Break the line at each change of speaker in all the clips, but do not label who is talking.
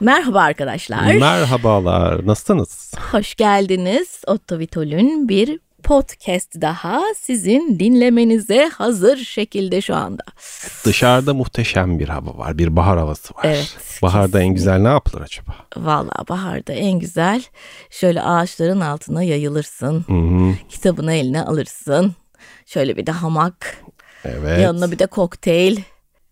Merhaba arkadaşlar.
Merhabalar, nasılsınız?
Hoş geldiniz. Otto Vitol'ün bir podcast daha sizin dinlemenize hazır şekilde şu anda.
Dışarıda muhteşem bir hava var, bir bahar havası var.
Evet,
Baharda en
kesinlikle.
güzel ne yapılır acaba?
Valla baharda en güzel şöyle ağaçların altına yayılırsın.
Hı,
Kitabını eline alırsın. Şöyle bir de hamak.
evet.
Yanına bir de kokteyl.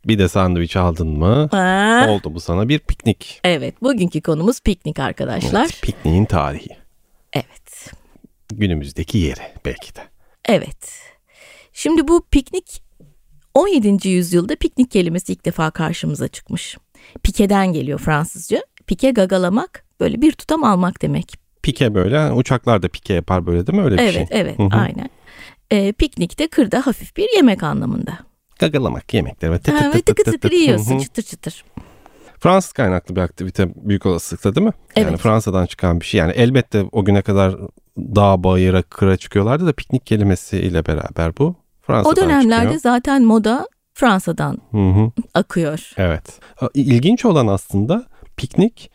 Bir de sandviç aldın mı?
Ha?
Oldu bu sana bir piknik.
Evet bugünkü konumuz piknik arkadaşlar.
Evet, pikniğin tarihi.
Evet.
Günümüzdeki yeri belki de.
Evet. Şimdi bu piknik 17. yüzyılda piknik kelimesi ilk defa karşımıza çıkmış. Pike'den geliyor Fransızca. Pike gagalamak böyle bir tutam almak demek.
Pike böyle, hani uçaklar da pike yapar böyle değil mi? Öyle bir
evet
şey.
evet
Hı hı.
aynen. Ee, piknik de kırda hafif bir yemek anlamında.
Gagalamak yemekleri. böyle tıkır
Ha, ve
tıkır
tıkı
tıkır
tıkır
tıkır. Hı
yiyorsun
hı.
çıtır çıtır.
Fransız kaynaklı bir aktivite büyük olasılıkla değil mi? Yani
Evet.
Fransa'dan çıkan bir şey. Yani elbette o güne kadar dağ, bayıra, kıra çıkıyorlardı da piknik kelimesiyle beraber bu Fransa'dan
O dönemlerde
çıkıyor.
zaten moda Fransa'dan
Hı hı,
akıyor.
evet. Ha, İlginç olan aslında piknik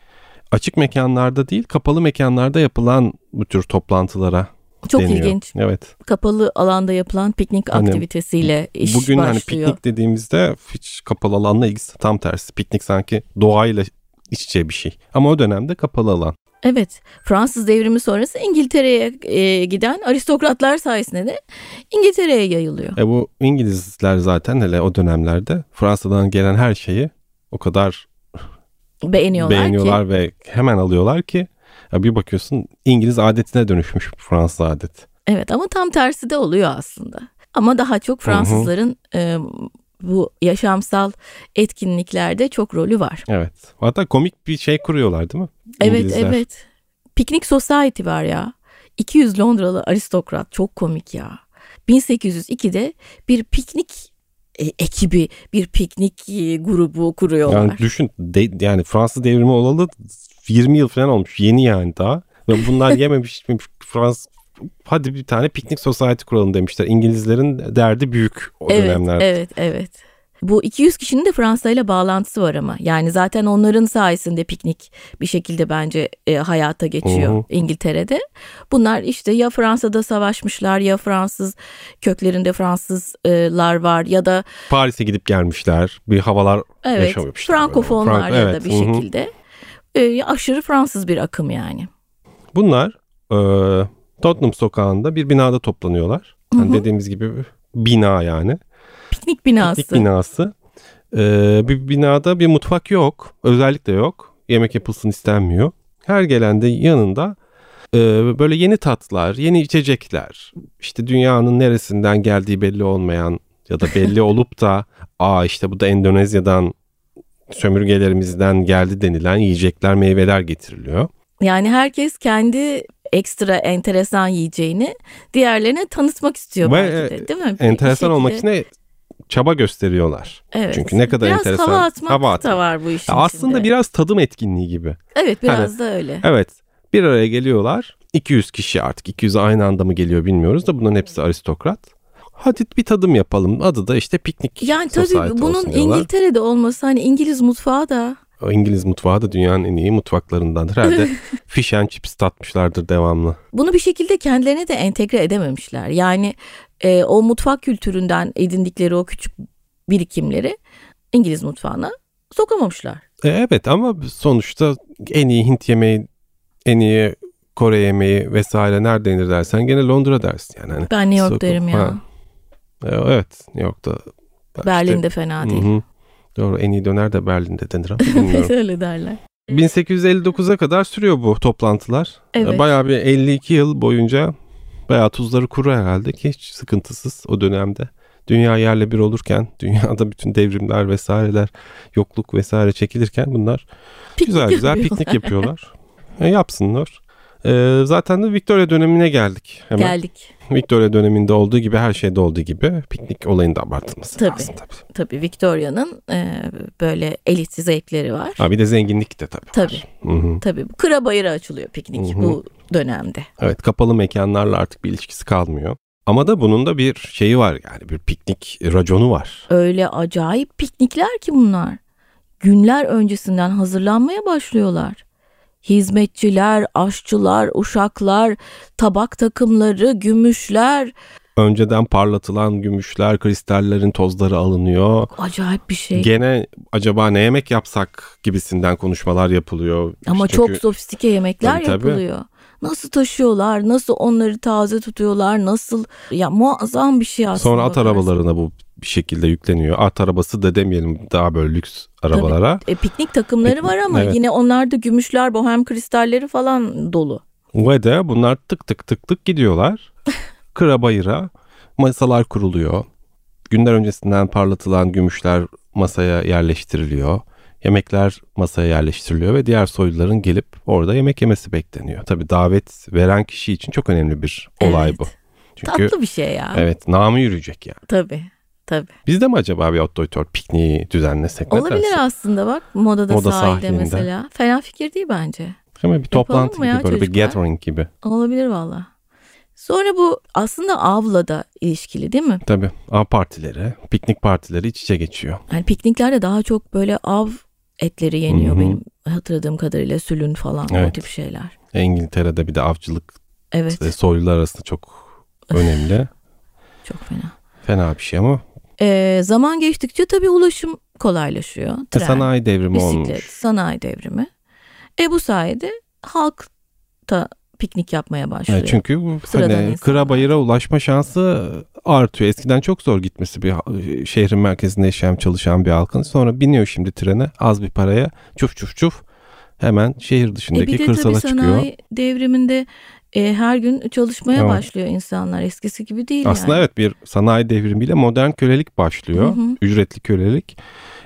açık mekanlarda değil kapalı mekanlarda yapılan bu tür toplantılara
Çok
deniyor.
ilginç.
Evet.
Kapalı alanda yapılan piknik
Hani
aktivitesiyle iş
Bugün hani
başlıyor.
piknik dediğimizde hiç kapalı alanla ilgisi tam tersi. Piknik sanki doğayla iç içe bir şey. Ama o dönemde kapalı alan.
Evet, Fransız devrimi sonrası İngiltere'ye e, giden aristokratlar sayesinde de İngiltere'ye yayılıyor.
E bu İngilizler zaten hele o dönemlerde Fransa'dan gelen her şeyi o kadar
Beğeniyorlar, ki.
beğeniyorlar ve hemen alıyorlar ki ya bir bakıyorsun İngiliz adetine dönüşmüş Fransız adet.
Evet ama tam tersi de oluyor aslında. Ama daha çok Fransızların e, bu yaşamsal etkinliklerde çok rolü var.
Evet. Hatta komik bir şey kuruyorlar değil mi? İngilizler.
Evet, evet. Piknik Society var ya. 200 Londralı aristokrat çok komik ya. 1802'de bir piknik e, ekibi, bir piknik e, grubu kuruyorlar.
Yani düşün de- yani Fransız devrimi olalı 20 yıl falan olmuş. Yeni yani daha. Ve bunlar yememiş içmemiş Fransız hadi bir tane piknik society kuralım demişler. İngilizlerin derdi büyük o dönemlerde.
Evet, evet. Bu 200 kişinin de Fransa ile bağlantısı var ama. Yani zaten onların sayesinde piknik bir şekilde bence e, hayata geçiyor
Hı hı.
İngiltere'de. Bunlar işte ya Fransa'da savaşmışlar ya Fransız köklerinde Fransızlar var ya da
Paris'e gidip gelmişler. Bir havalar
evet
Yaşamamışlar
Frankofonlar
böyle.
ya
Frank-
da bir
evet, hı hı.
şekilde. E, aşırı Fransız bir akım yani.
Bunlar e, Tottenham sokağında bir binada toplanıyorlar. Yani
Hı hı.
dediğimiz gibi bina yani.
Piknik binası.
Piknik binası. E, bir binada bir mutfak yok. Özellikle yok. Yemek yapılsın istenmiyor. Her gelen de yanında e, böyle yeni tatlar, yeni içecekler. İşte dünyanın neresinden geldiği belli olmayan ya da belli olup da aa işte bu da Endonezya'dan sömürgelerimizden geldi denilen yiyecekler, meyveler getiriliyor.
Yani herkes kendi ekstra enteresan yiyeceğini diğerlerine tanıtmak istiyor
Ve,
belki de,
e,
değil mi? Bir
enteresan olmak
şekilde.
için de çaba gösteriyorlar.
Evet.
Çünkü ne kadar
biraz
enteresan.
hava atmak
Hava atmak.
da var bu işin
Ya
içinde.
aslında biraz Hani tadım etkinliği gibi.
Evet biraz da öyle.
Evet. Bir araya geliyorlar. 200 kişi artık. 200 aynı anda mı geliyor bilmiyoruz da bunların hepsi aristokrat. Hadi bir tadım yapalım. Adı da işte piknik.
Yani
society
tabii
olsun
bunun
diyorlar.
İngiltere'de olması hani İngiliz mutfağı da
İngiliz mutfağı da dünyanın en iyi mutfaklarındandır. Herhalde fish and chips tatmışlardır devamlı.
bunu bir şekilde kendilerine de entegre edememişler. Yani e, o mutfak kültüründen edindikleri o küçük birikimleri İngiliz mutfağına sokamamışlar.
E, evet ama sonuçta en iyi Hint yemeği, en iyi Kore yemeği vesaire nerede denir dersen gene Londra dersin. Yani hani
Ben New York
Sokak-
derim ya.
Ha. E, Evet New York'ta. Bak
Berlin'de
işte-
fena değil.
Hı hı. Doğru en iyi döner de Berlin'de denir ama bilmiyorum.
öyle derler.
1859'a kadar sürüyor bu toplantılar. E,
Evet.
Bayağı bir 52 yıl boyunca bayağı tuzları kuru herhalde ki hiç sıkıntısız o dönemde. Dünya yerle bir olurken, dünyada bütün devrimler vesaireler, yokluk vesaire çekilirken bunlar güzel güzel
yapıyorlar.
piknik yapıyorlar. E, yapsınlar. E, zaten de Victoria dönemine geldik hemen.
Geldik.
Victoria döneminde olduğu gibi her şeyde olduğu gibi piknik olayını da abartılması
Tabii.
lazım tabii.
Tabii Victoria'nın e, böyle elitli zevkleri var.
Ha, bir de zenginlik de tabii. var.
Tabii.
Hı hı.
Tabii bu kıra bayıra açılıyor piknik
Hı hı.
bu dönemde.
Evet kapalı mekanlarla artık bir ilişkisi kalmıyor. Ama da bunun da bir şeyi var yani bir piknik raconu var.
Öyle acayip piknikler ki bunlar. günler öncesinden hazırlanmaya başlıyorlar. Hizmetçiler, aşçılar, uşaklar, tabak takımları, gümüşler.
Önceden parlatılan gümüşler, kristallerin tozları alınıyor.
Acayip bir şey.
Gene acaba ne yemek yapsak gibisinden konuşmalar yapılıyor.
Ama
İşte
çok
çünkü-
sofistike yemekler
Tabii, tabii.
yapılıyor. Nasıl taşıyorlar, nasıl onları taze tutuyorlar, nasıl ya muazzam bir şey aslında.
Sonra at
bakarsın.
arabalarına bu bir şekilde yükleniyor. At arabası da demeyelim daha böyle lüks arabalara.
E, piknik takımları var ama
Evet.
yine onlarda gümüşler, bohem kristalleri falan dolu.
Ve de bunlar tık tık tık tık gidiyorlar. Kıra bayıra masalar kuruluyor. Günler öncesinden parlatılan gümüşler masaya yerleştiriliyor. Yemekler masaya yerleştiriliyor ve diğer soyluların gelip orada yemek yemesi bekleniyor. Tabii davet veren kişi için çok önemli bir olay
Evet.
bu. Çünkü
Tatlı bir şey ya.
evet namı yürüyecek yani.
Tabii. Tabii.
Biz de mi acaba bir otoriter pikniği düzenlesek? Ne
Olabilir
dersin?
aslında bak modada
Moda
sahilde
sahilinde.
mesela. Fena fikir değil bence.
Değil mi? Bir toplantı
mı
gibi
ya
böyle bir
çocuklar?
gathering gibi.
Olabilir valla. Sonra bu aslında avla da ilişkili değil mi?
Tabii av partileri, piknik partileri iç içe geçiyor.
Yani pikniklerde daha çok böyle av etleri yeniyor
Hı hı.
benim hatırladığım kadarıyla sülün falan o
Evet.
tip şeyler.
İngiltere'de bir de avcılık
Evet
e, soylular arasında çok önemli.
çok fena.
Fena bir şey ama
Ee, zaman geçtikçe tabii ulaşım kolaylaşıyor. Tren,
E, sanayi devrimi
bisiklet,
olmuş.
sanayi devrimi. E bu sayede halk da piknik yapmaya başlıyor.
Evet, çünkü bu
Sıradan
hani
insanlar.
kıra bayıra ulaşma şansı artıyor. Eskiden çok zor gitmesi bir ha- şehrin merkezinde yaşayan çalışan bir halkın. Sonra biniyor şimdi trene az bir paraya çuf çuf çuf hemen şehir
E
dışındaki
bir de
kırsala
tabii
çıkıyor.
sanayi devriminde e, her gün çalışmaya
Evet.
başlıyor insanlar. Eskisi gibi değil
Aslında
yani.
evet bir sanayi devrimiyle modern kölelik başlıyor.
Hı hı.
Ücretli kölelik.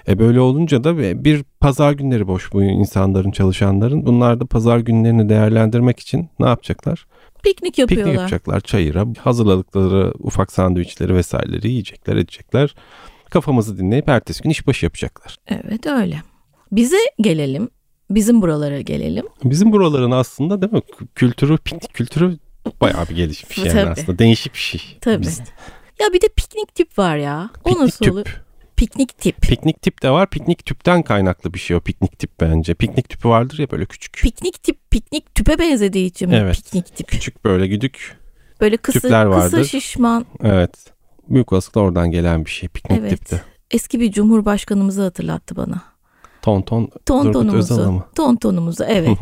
E böyle olunca da bir- bir pazar günleri boş bu insanların, çalışanların. Bunlar da pazar günlerini değerlendirmek için ne yapacaklar?
Piknik yapıyorlar.
Piknik yapacaklar çayıra. Hazırladıkları ufak sandviçleri vesaireleri yiyecekler, edecekler. Kafamızı dinleyip ertesi gün işbaşı yapacaklar.
Evet öyle. Bize gelelim. Bizim buralara gelelim.
Bizim buraların aslında değil mi k- kültürü, piknik kültürü bayağı bir gelişmiş yani
Tabii.
aslında. Değişik bir şey.
Tabii.
Biz-
Ya bir de piknik tip var ya. O
piknik
nasıl
tüp.
oluyor? Piknik tip.
Piknik tip de var. Piknik tüpten kaynaklı bir şey o piknik tip bence. Piknik tüpü vardır ya böyle küçük.
piknik tip piknik tüpe benzediği için mi
Evet.
piknik tip?
Küçük böyle güdük.
Böyle kısa
tüpler
kısa
vardır.
şişman.
Evet. Büyük olasılıkla oradan gelen bir şey piknik
Evet.
tipti.
Eski bir cumhurbaşkanımızı hatırlattı bana.
Ton ton. Turgut Özal'a
Tontonumuzu.
mı?
Tontonumuzu evet.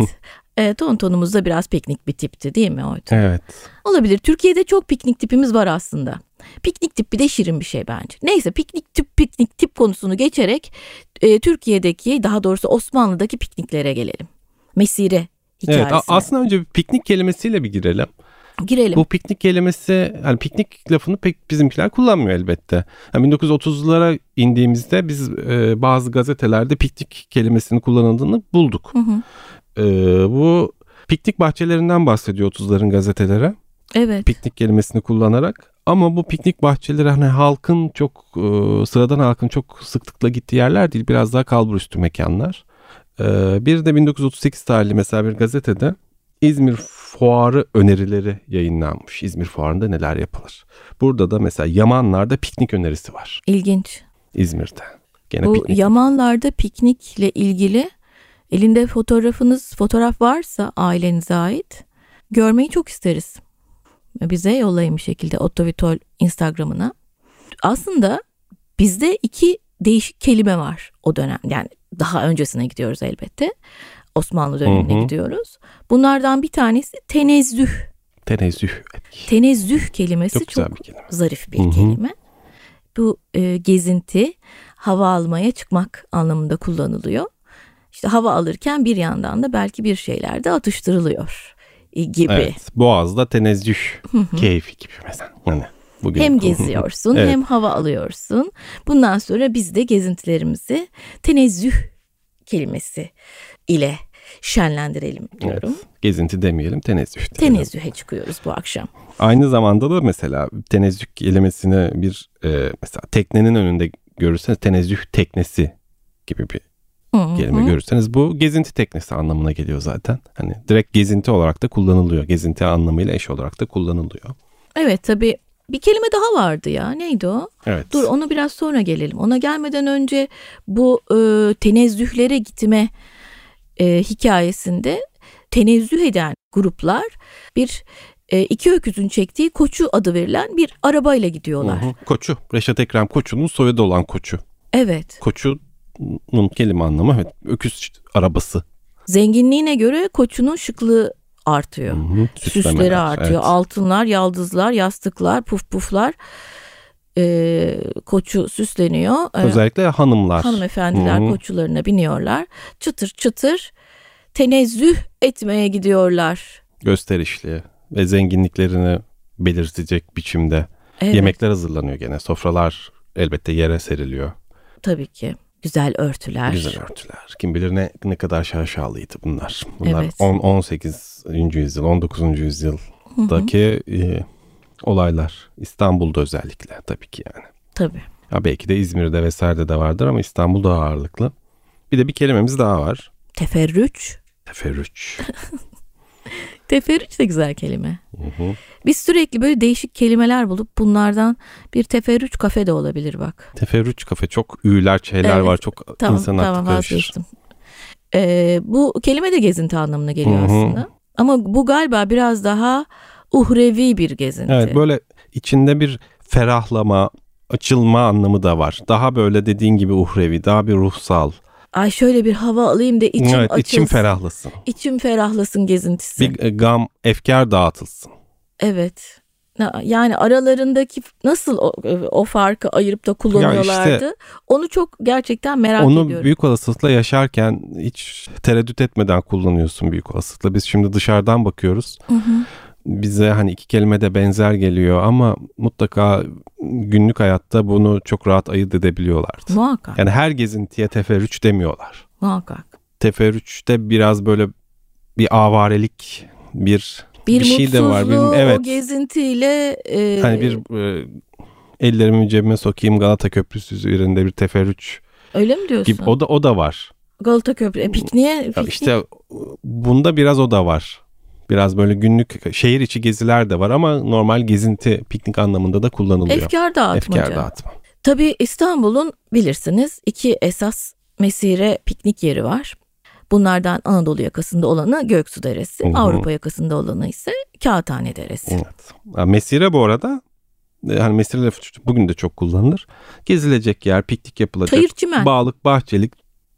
e, tontonumuz da biraz piknik bir tipti değil mi oydu?
Evet.
Olabilir. Türkiye'de çok piknik tipimiz var aslında. Piknik tip bir de şirin bir şey bence. Neyse piknik tip piknik tip konusunu geçerek e, Türkiye'deki daha doğrusu Osmanlı'daki pikniklere gelelim. Mesire hikayesine.
Evet. a- Aslında önce bir piknik kelimesiyle bir girelim.
Girelim.
Bu piknik kelimesi yani piknik lafını pek bizimkiler kullanmıyor elbette. Yani 1930'lara indiğimizde biz e, bazı gazetelerde piknik kelimesinin kullanıldığını bulduk.
Hı hı.
E, bu piknik bahçelerinden bahsediyor 30'ların gazetelere.
Evet.
piknik kelimesini kullanarak ama bu piknik bahçeleri hani halkın çok e, sıradan halkın çok sıklıkla gittiği yerler değil biraz daha kalburüstü mekanlar. E, bir de 1938 tarihli mesela bir gazetede İzmir Fuarı önerileri yayınlanmış. İzmir Fuarı'nda neler yapılır? Burada da mesela Yamanlar'da piknik önerisi var
İlginç.
İzmir'de. Gene
Bu
Hani piknik.
Yamanlarda piknikle ilgili elinde fotoğrafınız fotoğraf varsa ailenize ait görmeyi çok isteriz. Bize yollayın bir şekilde Ottovitol Instagram'ına. Aslında bizde iki değişik kelime var o dönem. Yani daha öncesine gidiyoruz elbette. Osmanlı dönemine
Hı hı.
gidiyoruz. Bunlardan bir tanesi tenezzüh.
Tenezzüh.
Tenezzüh kelimesi
Çok
çok,
güzel bir kelime.
zarif bir
Hı hı.
kelime. Bu e, gezinti hava almaya çıkmak anlamında kullanılıyor. İşte hava alırken bir yandan da belki bir şeyler de atıştırılıyor e, gibi.
Evet. Boğaz'da tenezzüh
hı.
keyfi gibi mesela. Hani bugün
Hem geziyorsun
Evet.
hem hava alıyorsun. Bundan sonra biz de gezintilerimizi tenezzüh kelimesi ile şenlendirelim diyorum.
Gezinti demeyelim tenezzüh. diyelim.
Tenezzühe çıkıyoruz bu akşam.
Aynı zamanda da mesela tenezzüh kelimesini bir e, mesela teknenin önünde görürseniz tenezzüh teknesi gibi bir
Hı hı.
kelime görürseniz bu gezinti teknesi anlamına geliyor zaten. Hani direkt gezinti olarak da kullanılıyor. Gezinti anlamıyla eş olarak da kullanılıyor.
Evet tabii Bir kelime daha vardı ya. Neydi o?
Evet.
Dur onu biraz sonra gelelim. Ona gelmeden önce bu e, tenezzühlere gitme e, hikayesinde tenezzüh eden gruplar bir e, iki öküzün çektiği koçu adı verilen bir arabayla gidiyorlar.
Hı hı. Koçu. Reşat Ekrem Koçu'nun soyadı olan Koçu.
Evet.
Koçu'nun kelime anlamı evet. Öküz arabası.
Zenginliğine göre koçunun şıklığı artıyor.
Hı hı. Süslemeler,
Süsleri artıyor.
evet.
Altınlar, yaldızlar, yastıklar, puf puflar. E, koçu süsleniyor. E,
Özellikle hanımlar.
Hanımefendiler
Hı hı.
koçularına biniyorlar. Çıtır çıtır tenezzüh etmeye gidiyorlar.
Gösterişli ve zenginliklerini belirtecek biçimde.
Evet,
Yemekler hazırlanıyor gene. Sofralar elbette yere seriliyor.
Tabii ki. Güzel örtüler.
Güzel örtüler. Kim bilir ne ne kadar şaşalıydı bunlar. Bunlar
Evet.
10 18. yüzyıl, 19. yüzyıldaki e, olaylar. İstanbul'da özellikle tabii ki yani.
Tabii.
Ya belki de İzmir'de vesairede de vardır ama İstanbul daha ağırlıklı. Bir de bir kelimemiz daha var.
Teferrüç.
Teferrüç.
Teferrüç de güzel kelime.
Hı hı.
Biz sürekli böyle değişik kelimeler bulup bunlardan bir teferrüç kafe de olabilir bak.
Teferrüç kafe çok üyler şeyler
Evet,
var. Çok
Tamam
insan
tamam
aklı karışır.
vazgeçtim. Ee, bu kelime de gezinti anlamına geliyor
Hı hı.
aslında. Ama bu galiba biraz daha uhrevi bir gezinti.
Evet böyle içinde bir ferahlama, açılma anlamı da var. Daha böyle dediğin gibi uhrevi, daha bir ruhsal.
Ay şöyle bir hava alayım da içim
evet, içim
açılsın.
ferahlasın.
İçim ferahlasın gezintisi.
Bir e, gam, efkar dağıtılsın.
Evet. Na- Yani aralarındaki f- nasıl o, e, o farkı ayırıp da kullanıyorlardı?
Ya işte-
onu çok gerçekten merak
Onu
ediyorum.
büyük olasılıkla yaşarken hiç tereddüt etmeden kullanıyorsun büyük olasılıkla. Biz şimdi dışarıdan bakıyoruz.
Hı hı.
Bize hani iki kelime de benzer geliyor ama mutlaka günlük hayatta bunu çok rahat ayırt edebiliyorlardı.
Muhakkak,
Yani her gezintiye teferrüç demiyorlar.
muhakkak.
Teferrüçte biraz böyle bir avarelik, bir
Bir,
Bir şey de var,
mutsuzluğu
bir- evet.
o gezintiyle e,
hani bir e, ellerimi cebime sokayım Galata Köprüsü üzerinde bir teferrüç
öyle mi diyorsun?
gibi o da o da var.
Galata Köprü e, pikniğe,
Ya
pikniğe
İşte bunda biraz o da var. Biraz böyle günlük şehir içi geziler de var ama normal gezinti piknik anlamında da kullanılıyor.
efkar dağıtmaca.
Efkar dağıtma.
Tabii İstanbul'un bilirsiniz iki esas mesire piknik yeri var. Bunlardan Anadolu yakasında olanı Göksu Deresi,
Hı hı.
Avrupa yakasında olanı ise Kağıthane Deresi.
Evet. Ha, Mesire bu arada e, hani mesire lafı çok- bugün de çok kullanılır. Gezilecek yer, piknik yapılacak.
Çayır çimen.
Bağlık, bahçelik,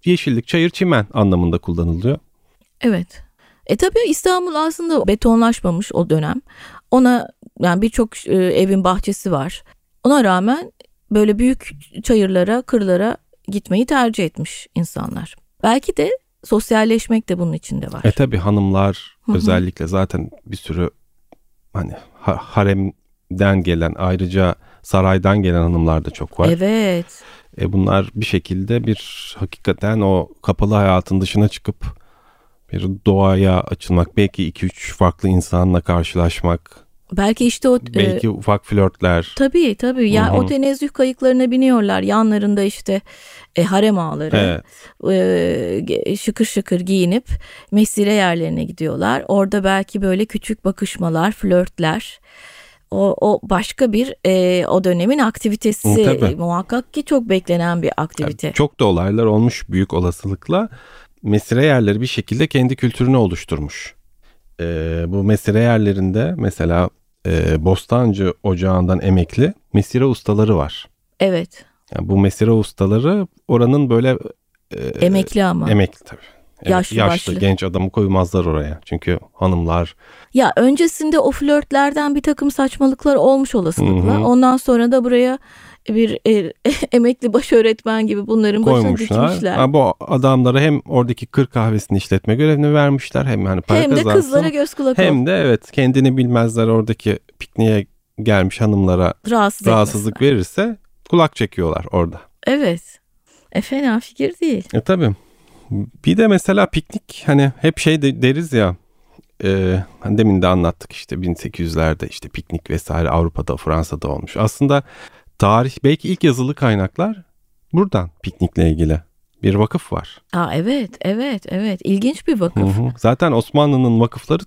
yeşillik, çayır, çimen anlamında kullanılıyor.
Evet. E tabii İstanbul aslında betonlaşmamış o dönem. Ona yani birçok e, evin bahçesi var. Ona rağmen böyle büyük çayırlara, kırlara gitmeyi tercih etmiş insanlar. Belki de sosyalleşmek de bunun içinde var.
E tabi hanımlar
Hı hı.
özellikle zaten bir sürü hani ha- haremden gelen ayrıca saraydan gelen hanımlar da çok var.
Evet.
E bunlar bir şekilde bir hakikaten o kapalı hayatın dışına çıkıp bir doğaya açılmak, belki 2-3 farklı insanla karşılaşmak,
Belki işte o e,
belki ufak flörtler.
Tabii tabii. Ya
Hı hı.
o tenezzüh kayıklarına biniyorlar. Yanlarında işte e, harem ağları.
Evet.
e, ge- şıkır şıkır giyinip mesire yerlerine gidiyorlar. Orada belki böyle küçük bakışmalar, flörtler. O, o başka bir e, o dönemin aktivitesi.
Hı, tabii.
Muhakkak ki çok beklenen bir aktivite.
Çok da olaylar olmuş büyük olasılıkla. Mesire yerleri bir şekilde kendi kültürünü oluşturmuş. E, bu mesire yerlerinde mesela e, Bostancı Ocağı'ndan emekli mesire ustaları var.
evet.
Yani bu mesire ustaları oranın böyle e,
Emekli ama.
Emekli tabii. Evet,
Yaşlı başlı.
genç adamı koymazlar oraya. Çünkü hanımlar
Ya öncesinde o flörtlerden bir takım saçmalıklar olmuş olasılıkla.
Hı hı.
Ondan sonra da buraya bir e, emekli baş öğretmen gibi bunların başına
koymuşlar.
dikmişler.
Ha, bu adamlara hem oradaki kır kahvesini işletme görevini vermişler hem hani para
Hem de
kazansın,
kızlara göz kulak ol.
hem de evet kendini bilmezler oradaki pikniğe gelmiş hanımlara
Rahatsız
rahatsızlık
etmesinler.
verirse kulak çekiyorlar orada.
Evet. E fena fikir değil.
E tabii. Bir de mesela piknik hani hep şey de- deriz ya e, hani demin de anlattık işte 1800'lerde işte piknik vesaire Avrupa'da Fransa'da olmuş. Aslında tarih belki ilk yazılı kaynaklar buradan piknikle ilgili bir vakıf var.
Aa evet, evet, evet. İlginç bir
Hı
vakıf.
hı. Zaten Osmanlı'nın vakıfları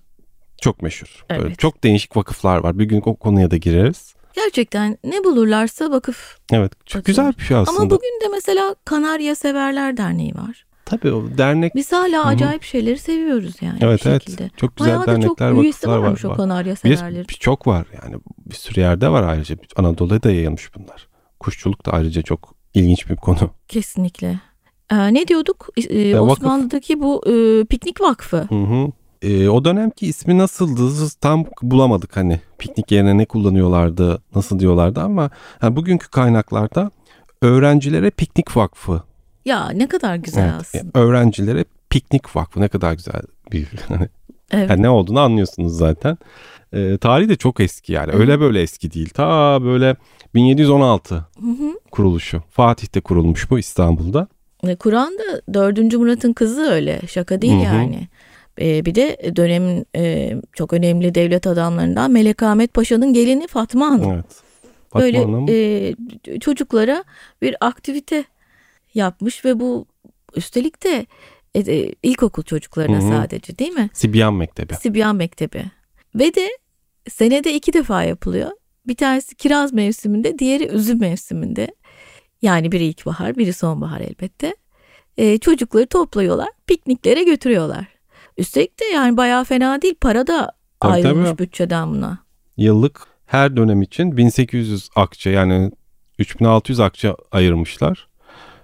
çok meşhur. Böyle
Evet.
çok değişik vakıflar var. Bir gün o konuya da gireriz.
Gerçekten ne bulurlarsa vakıf.
Evet. Çok güzel bir şey aslında.
Ama bugün de mesela Kanarya Severler Derneği var.
Tabii o dernek
Biz hala acayip şeyleri seviyoruz yani
Evet,
bir
evet.
şekilde.
çok güzel
Bayağı da çok
dernekler
üyesi
vakıflar var.
varmış o
var.
Kanarya Severlerin.
Bir, birçok var yani bir sürü yerde var ayrıca Anadolu'ya da yayılmış bunlar. Kuşçuluk da ayrıca çok ilginç bir konu.
Kesinlikle. Ee, ne diyorduk? Ee,
Ya, vakıf.
Osmanlı'daki bu e, piknik vakfı.
Hı hı. Ee, o dönemki ismi nasıldı tam bulamadık hani piknik yerine ne kullanıyorlardı nasıl diyorlardı ama ha, bugünkü kaynaklarda öğrencilere piknik vakfı.
Ya ne kadar güzel
Evet,
aslında.
öğrencilere piknik vakfı ne kadar güzel bir hani
Evet.
Yani ne olduğunu anlıyorsunuz zaten. Ee, tarihi de çok eski yani. Öyle böyle eski değil. Ta böyle 1716
Hı hı.
kuruluşu. Fatih'te kurulmuş bu İstanbul'da.
E, Kur'an'da 4. Murat'ın kızı öyle. Şaka değil
Hı hı.
yani. E, bir de dönemin e, çok önemli devlet adamlarından Melek Ahmet Paşa'nın gelini Fatma Hanım.
Evet. Fatma
Böyle
Hanım.
e, ç- çocuklara bir aktivite yapmış ve bu üstelik de e, e, ilkokul çocuklarına
Hı hı.
sadece değil mi?
Sibyan Mektebi.
Sibyan Mektebi. Ve de senede iki defa yapılıyor. Bir tanesi kiraz mevsiminde, diğeri üzüm mevsiminde. Yani biri ilkbahar, biri sonbahar elbette. Ee, çocukları topluyorlar, pikniklere götürüyorlar. Üstelik de yani bayağı fena değil. Para da
Tabii,
ayrılmış
tabii.
bütçeden buna.
Yıllık her dönem için 1800 akçe yani 3600 akçe ayırmışlar.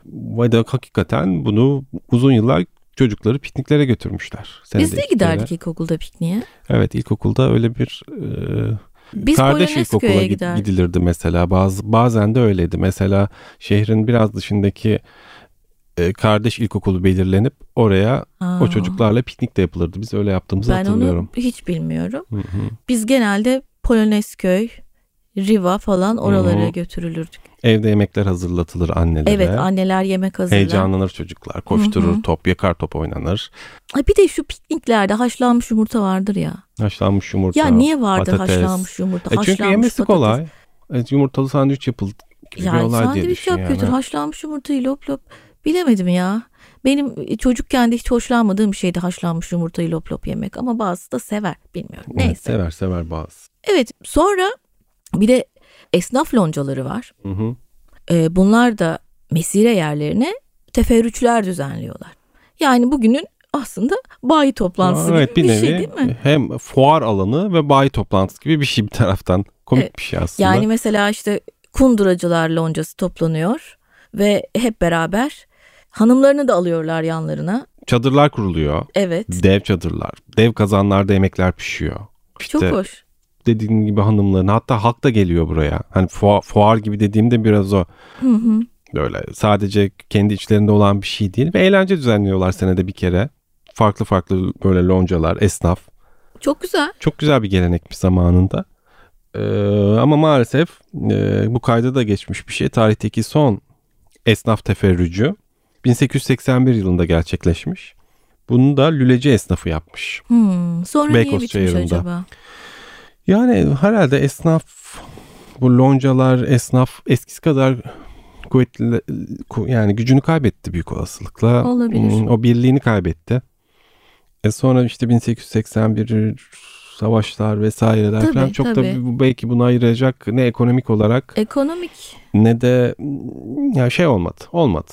Ve de hakikaten bunu uzun yıllar çocukları pikniklere götürmüşler. Senede
Biz de
iki
giderdik
kere.
ilkokulda pikniğe.
Evet ilkokulda öyle bir e,
Biz
Kardeş
Polonezköy'e
ilkokula gid-
giderdik.
gidilirdi mesela. Bazı bazen de öyleydi. Mesela şehrin biraz dışındaki e, kardeş ilkokulu belirlenip oraya
Aa,
o çocuklarla piknik de yapılırdı. Biz öyle yaptığımızı
Ben onu
hatırlıyorum.
hiç bilmiyorum.
Hı hı.
Biz genelde Polonezköy, Riva falan oralara
Hı hı.
götürülürdük.
Evde yemekler hazırlatılır annelere.
Evet anneler yemek hazırlar.
Heyecanlanır çocuklar. Koşturur,
Hı hı.
top yakar, top oynanır.
Ay bir de şu pikniklerde haşlanmış yumurta vardır ya.
Haşlanmış yumurta.
Ya niye vardır
patates.
haşlanmış yumurta?
E
haşlanmış
çünkü yemesi
patates.
kolay. E, yumurtalı sandviç yapıldı gibi bir
Yani
olay diye
sandviç
düşün
yap
yani.
götür haşlanmış yumurtayı lop lop. Bilemedim ya. Benim e, çocukken de hiç hoşlanmadığım bir şeydi haşlanmış yumurtayı lop lop yemek. Ama bazısı da sever bilmiyorum.
Evet,
Neyse. Evet,
sever sever bazı.
sonra bir de esnaf loncaları var.
Hı hı.
Ee, bunlar da mesire yerlerine teferrüçler düzenliyorlar. Yani bugünün aslında bayi toplantısı
Aa, evet,
gibi bir,
nevi
şey değil mi?
Hem fuar alanı ve bayi toplantısı gibi bir şey bir taraftan. Komik
Evet,
bir şey aslında.
Yani mesela işte kunduracılar loncası toplanıyor ve hep beraber hanımlarını da alıyorlar yanlarına.
Çadırlar kuruluyor.
Evet.
Dev çadırlar. Dev kazanlarda yemekler pişiyor. İşte
Çok hoş.
dediğin gibi hanımların hatta halk da geliyor buraya. Hani fuar, fuar gibi dediğimde biraz o
Hı hı.
böyle sadece kendi içlerinde olan bir şey değil. Ve eğlence düzenliyorlar senede bir kere. Farklı farklı böyle loncalar, esnaf.
Çok güzel.
Çok güzel bir gelenekmiş zamanında. Ee, ama maalesef e, bu kayda da geçmiş bir şey. Tarihteki son esnaf teferrücü 1881 yılında gerçekleşmiş. Bunu da lüleci esnafı yapmış.
Hmm. Sonra niye
Beykoz
bitmiş
çayırında.
acaba?
Yani herhalde esnaf bu loncalar esnaf eskisi kadar kuvvetli ku- yani gücünü kaybetti büyük olasılıkla.
Olabilir.
Hmm, O birliğini kaybetti. E sonra işte 1881 savaşlar vesaireler
Tabii,
falan çok
tabii. E-
da bu- belki bunu ayıracak ne ekonomik olarak
Ekonomik.
ne de mm, ya şey olmadı. Olmadı.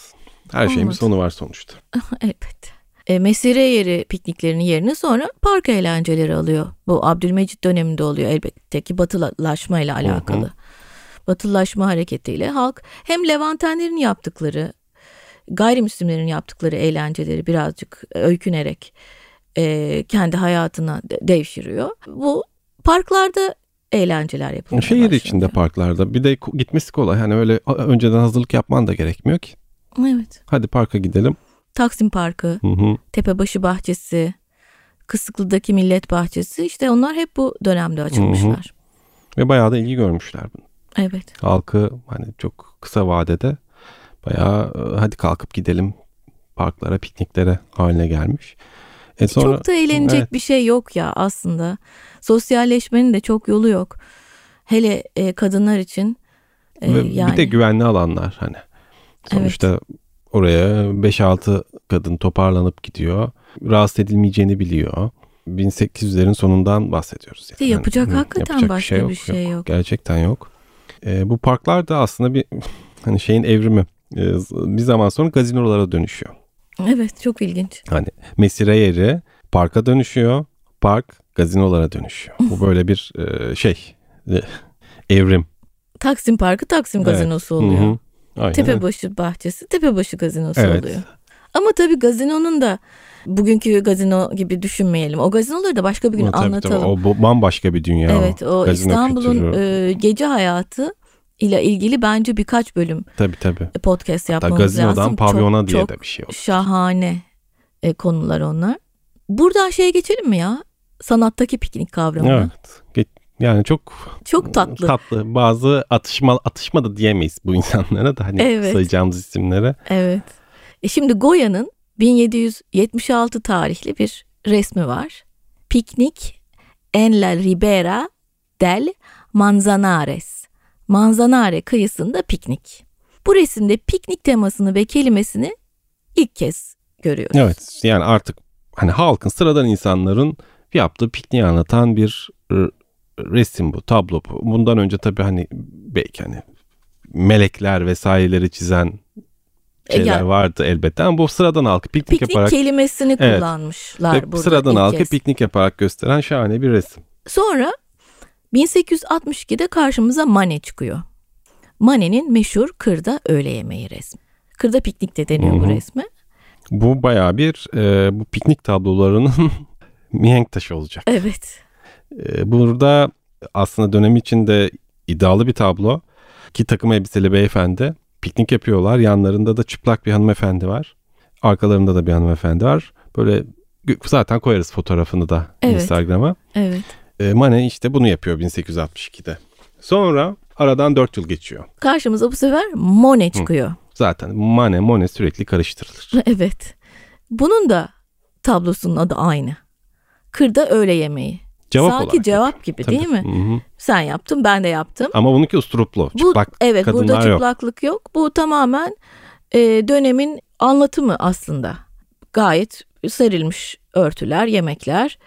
Her şeyin bir
Olmadı.
sonu var sonuçta.
Elbette. E, mesire yeri pikniklerinin yerine sonra park eğlenceleri alıyor. Bu Abdülmecit döneminde oluyor elbette ki batılaşma ile alakalı. Batılaşma hareketiyle halk hem Levantenlerin yaptıkları gayrimüslimlerin yaptıkları eğlenceleri birazcık öykünerek e, kendi hayatına de- devşiriyor. Bu parklarda eğlenceler yapılıyor.
Şehir içinde parklarda bir de ko- gitmesi kolay. Hani öyle a- önceden hazırlık yapman da gerekmiyor ki.
Evet.
Hadi parka gidelim.
Taksim Parkı,
Hı hı.
Tepebaşı Bahçesi, Kısıklı'daki Millet Bahçesi işte onlar hep bu dönemde açılmışlar.
Ve bayağı da ilgi görmüşler bunu.
Evet.
Halkı hani çok kısa vadede bayağı e, hadi kalkıp gidelim parklara, pikniklere haline gelmiş. E sonra
çok da eğlenecek
Evet.
bir şey yok ya aslında. Sosyalleşmenin de çok yolu yok. Hele e, kadınlar için e,
ve
yani
bir de güvenli alanlar hani. Sonuçta oraya 5-6 kadın toparlanıp gidiyor. Rahatsız edilmeyeceğini biliyor. 1800'lerin sonundan bahsediyoruz. Hani,
yapacak hakikaten
yapacak
başka bir şey yok.
Gerçekten yok. E, bu parklar da aslında bir hani şeyin evrimi. E, bir zaman sonra gazinolara dönüşüyor.
Evet çok ilginç.
Hani mesire yeri parka dönüşüyor. Park gazinolara dönüşüyor. Bu böyle bir e, şey e, evrim.
Taksim Parkı Taksim
Evet.
Gazinosu
Hı
oluyor.
hı. Aynen öyle.
Tepebaşı bahçesi Tepebaşı gazinosu
Evet.
oluyor. Ama tabii gazinonun da bugünkü gazino gibi düşünmeyelim. O gazinoları da başka bir gün
Ama tabii, tabii,
anlatalım.
o bu- bambaşka bir dünya. o.
evet o
gazino
İstanbul'un
kültürü.
e, gece hayatı ile ilgili bence birkaç bölüm
Tabii tabii.
podcast
Hatta
yapmamız
gazinodan
lazım.
pavyona
çok,
diye
çok
de bir şey oldu.
şahane e, konular onlar. Buradan şeye geçelim mi ya? Sanattaki piknik kavramına.
Evet. Ge- Yani çok
Çok tatlı.
tatlı. Bazı atışma atışma da diyemeyiz bu insanlara da hani
Evet.
sayacağımız isimlere.
Evet. E şimdi Goya'nın 1776 tarihli bir resmi var. Piknik en la ribera del Manzanares. Manzanare kıyısında piknik. Bu resimde piknik temasını ve kelimesini ilk kez görüyoruz.
Evet. Yani artık hani halkın sıradan insanların yaptığı pikniği anlatan bir r- resim bu, tablo bu. Bundan önce tabii hani belki hani melekler vesaireleri çizen
E,
şeyler
ya-
vardı elbette ama bu sıradan halkı piknik,
Piknik
yaparak
kelimesini
Evet.
kullanmışlar
ve
burada.
sıradan
ilk
halkı
kez.
piknik yaparak gösteren şahane bir resim.
Sonra 1862'de karşımıza Mane çıkıyor. Mane'nin meşhur kırda öğle yemeği resmi. Kırda piknik de deniyor bu
Hı hı.
resme.
Bu bayağı bir e, bu piknik tablolarının mihenk taşı olacak.
Evet.
E, Burada aslında dönemi içinde iddialı bir tablo. İki takım elbiseli beyefendi piknik yapıyorlar. Yanlarında da çıplak bir hanımefendi var. Arkalarında da bir hanımefendi var. Böyle gö- zaten koyarız fotoğrafını da
Evet.
Instagram'a.
Evet.
E, Mane işte bunu yapıyor 1862'de. Sonra aradan 4 yıl geçiyor.
Karşımıza bu sefer Mone çıkıyor.
Zaten Mane Mone sürekli karıştırılır.
Evet. Bunun da tablosunun adı aynı. Kırda öğle yemeği.
Cevap
Sanki
olarak
cevap
yapıyor.
gibi
Tabii.
değil mi?
Hı hı.
Sen yaptın, ben de yaptım.
Ama bununki usturuplu. Çıplak
evet, burada
kadınlar yok.
çıplaklık yok. Bu tamamen e, dönemin anlatımı aslında. Gayet serilmiş örtüler, yemekler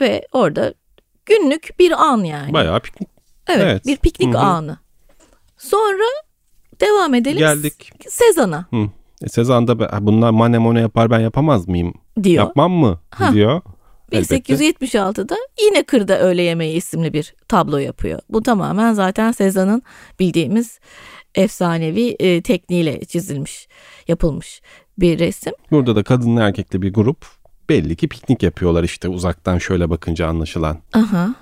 ve orada günlük bir an yani.
Bayağı piknik.
evet,
evet.
bir piknik
Hı hı.
anı. Sonra devam edelim.
Geldik.
Sezan'a
E, Sezan'da be- "Ha, bunlar mane mone yapar ben yapamaz mıyım?
diyor.
Yapmam mı?
Ha.
diyor. Elbette.
1876'da yine Kırda Öğle Yemeği isimli bir tablo yapıyor. Bu tamamen zaten Sezan'ın bildiğimiz efsanevi e, tekniğiyle çizilmiş, yapılmış bir resim.
Burada da kadınla erkekli bir grup belli ki piknik yapıyorlar işte uzaktan şöyle bakınca anlaşılan.
Aha.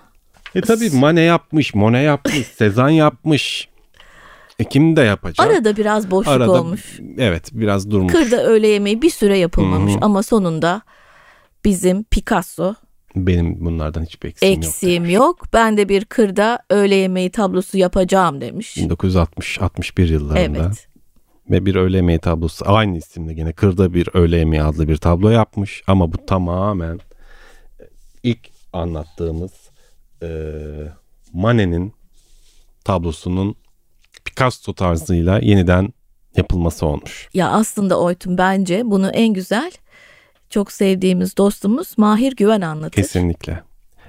E tabii Mane yapmış, Mone yapmış, Sezan yapmış. E kim de yapacak?
Arada biraz boşluk olmuş.
Evet biraz durmuş.
Kırda Öğle Yemeği bir süre yapılmamış
Hı hı.
ama sonunda bizim Picasso
Benim bunlardan hiçbir eksiğim yok.
eksiğim yok, Ben de bir kırda öğle yemeği tablosu yapacağım demiş.
1960-61 yıllarında
Evet.
ve bir öğle yemeği tablosu aynı isimde gene Kırda bir öğle yemeği adlı bir tablo yapmış ama bu tamamen e, ilk anlattığımız e, eee Manet'in tablosunun Picasso tarzıyla yeniden yapılması olmuş.
Ya aslında Oytun bence bunu en güzel çok sevdiğimiz dostumuz Mahir Güven anlatır.
Kesinlikle.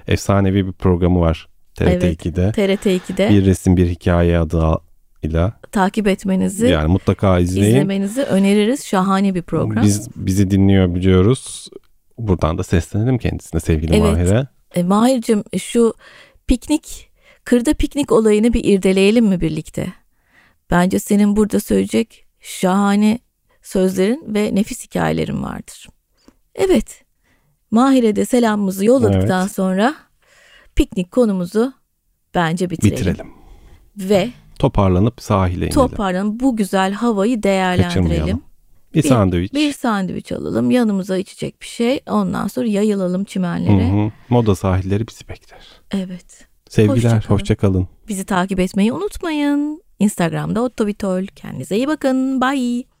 Efsanevi bir programı var
Evet.
TRT2'de.
TRT 2'de
Bir resim bir hikaye adıyla
takip etmenizi,
yani mutlaka izleyin.
izlemenizi öneririz. Şahane bir program.
Biz bizi dinliyor biliyoruz. Buradan da seslenelim kendisine sevgili
Evet.
Mahir'e.
E, Mahir'cim şu piknik, kırda piknik olayını bir irdeleyelim mi birlikte? Bence senin burada söyleyecek şahane sözlerin ve nefis hikayelerin vardır. Evet, Mahir'e de selamımızı yolladıktan sonra piknik konumuzu bence bitirelim.
Bitirelim.
Ve
toparlanıp sahile inelim.
toparlanıp bu güzel havayı değerlendirelim.
Kaçırmayalım. bir, sandviç.
Bir sandviç alalım, yanımıza içecek bir şey. Ondan sonra yayılalım
Hı
çimenlere.
hı. Moda sahilleri bizi bekler.
Evet.
Sevgiler,
Hoşça kalın.
hoşça kalın.
Bizi takip etmeyi unutmayın. Instagram'da Otto Bitol. Kendinize iyi bakın. Bye.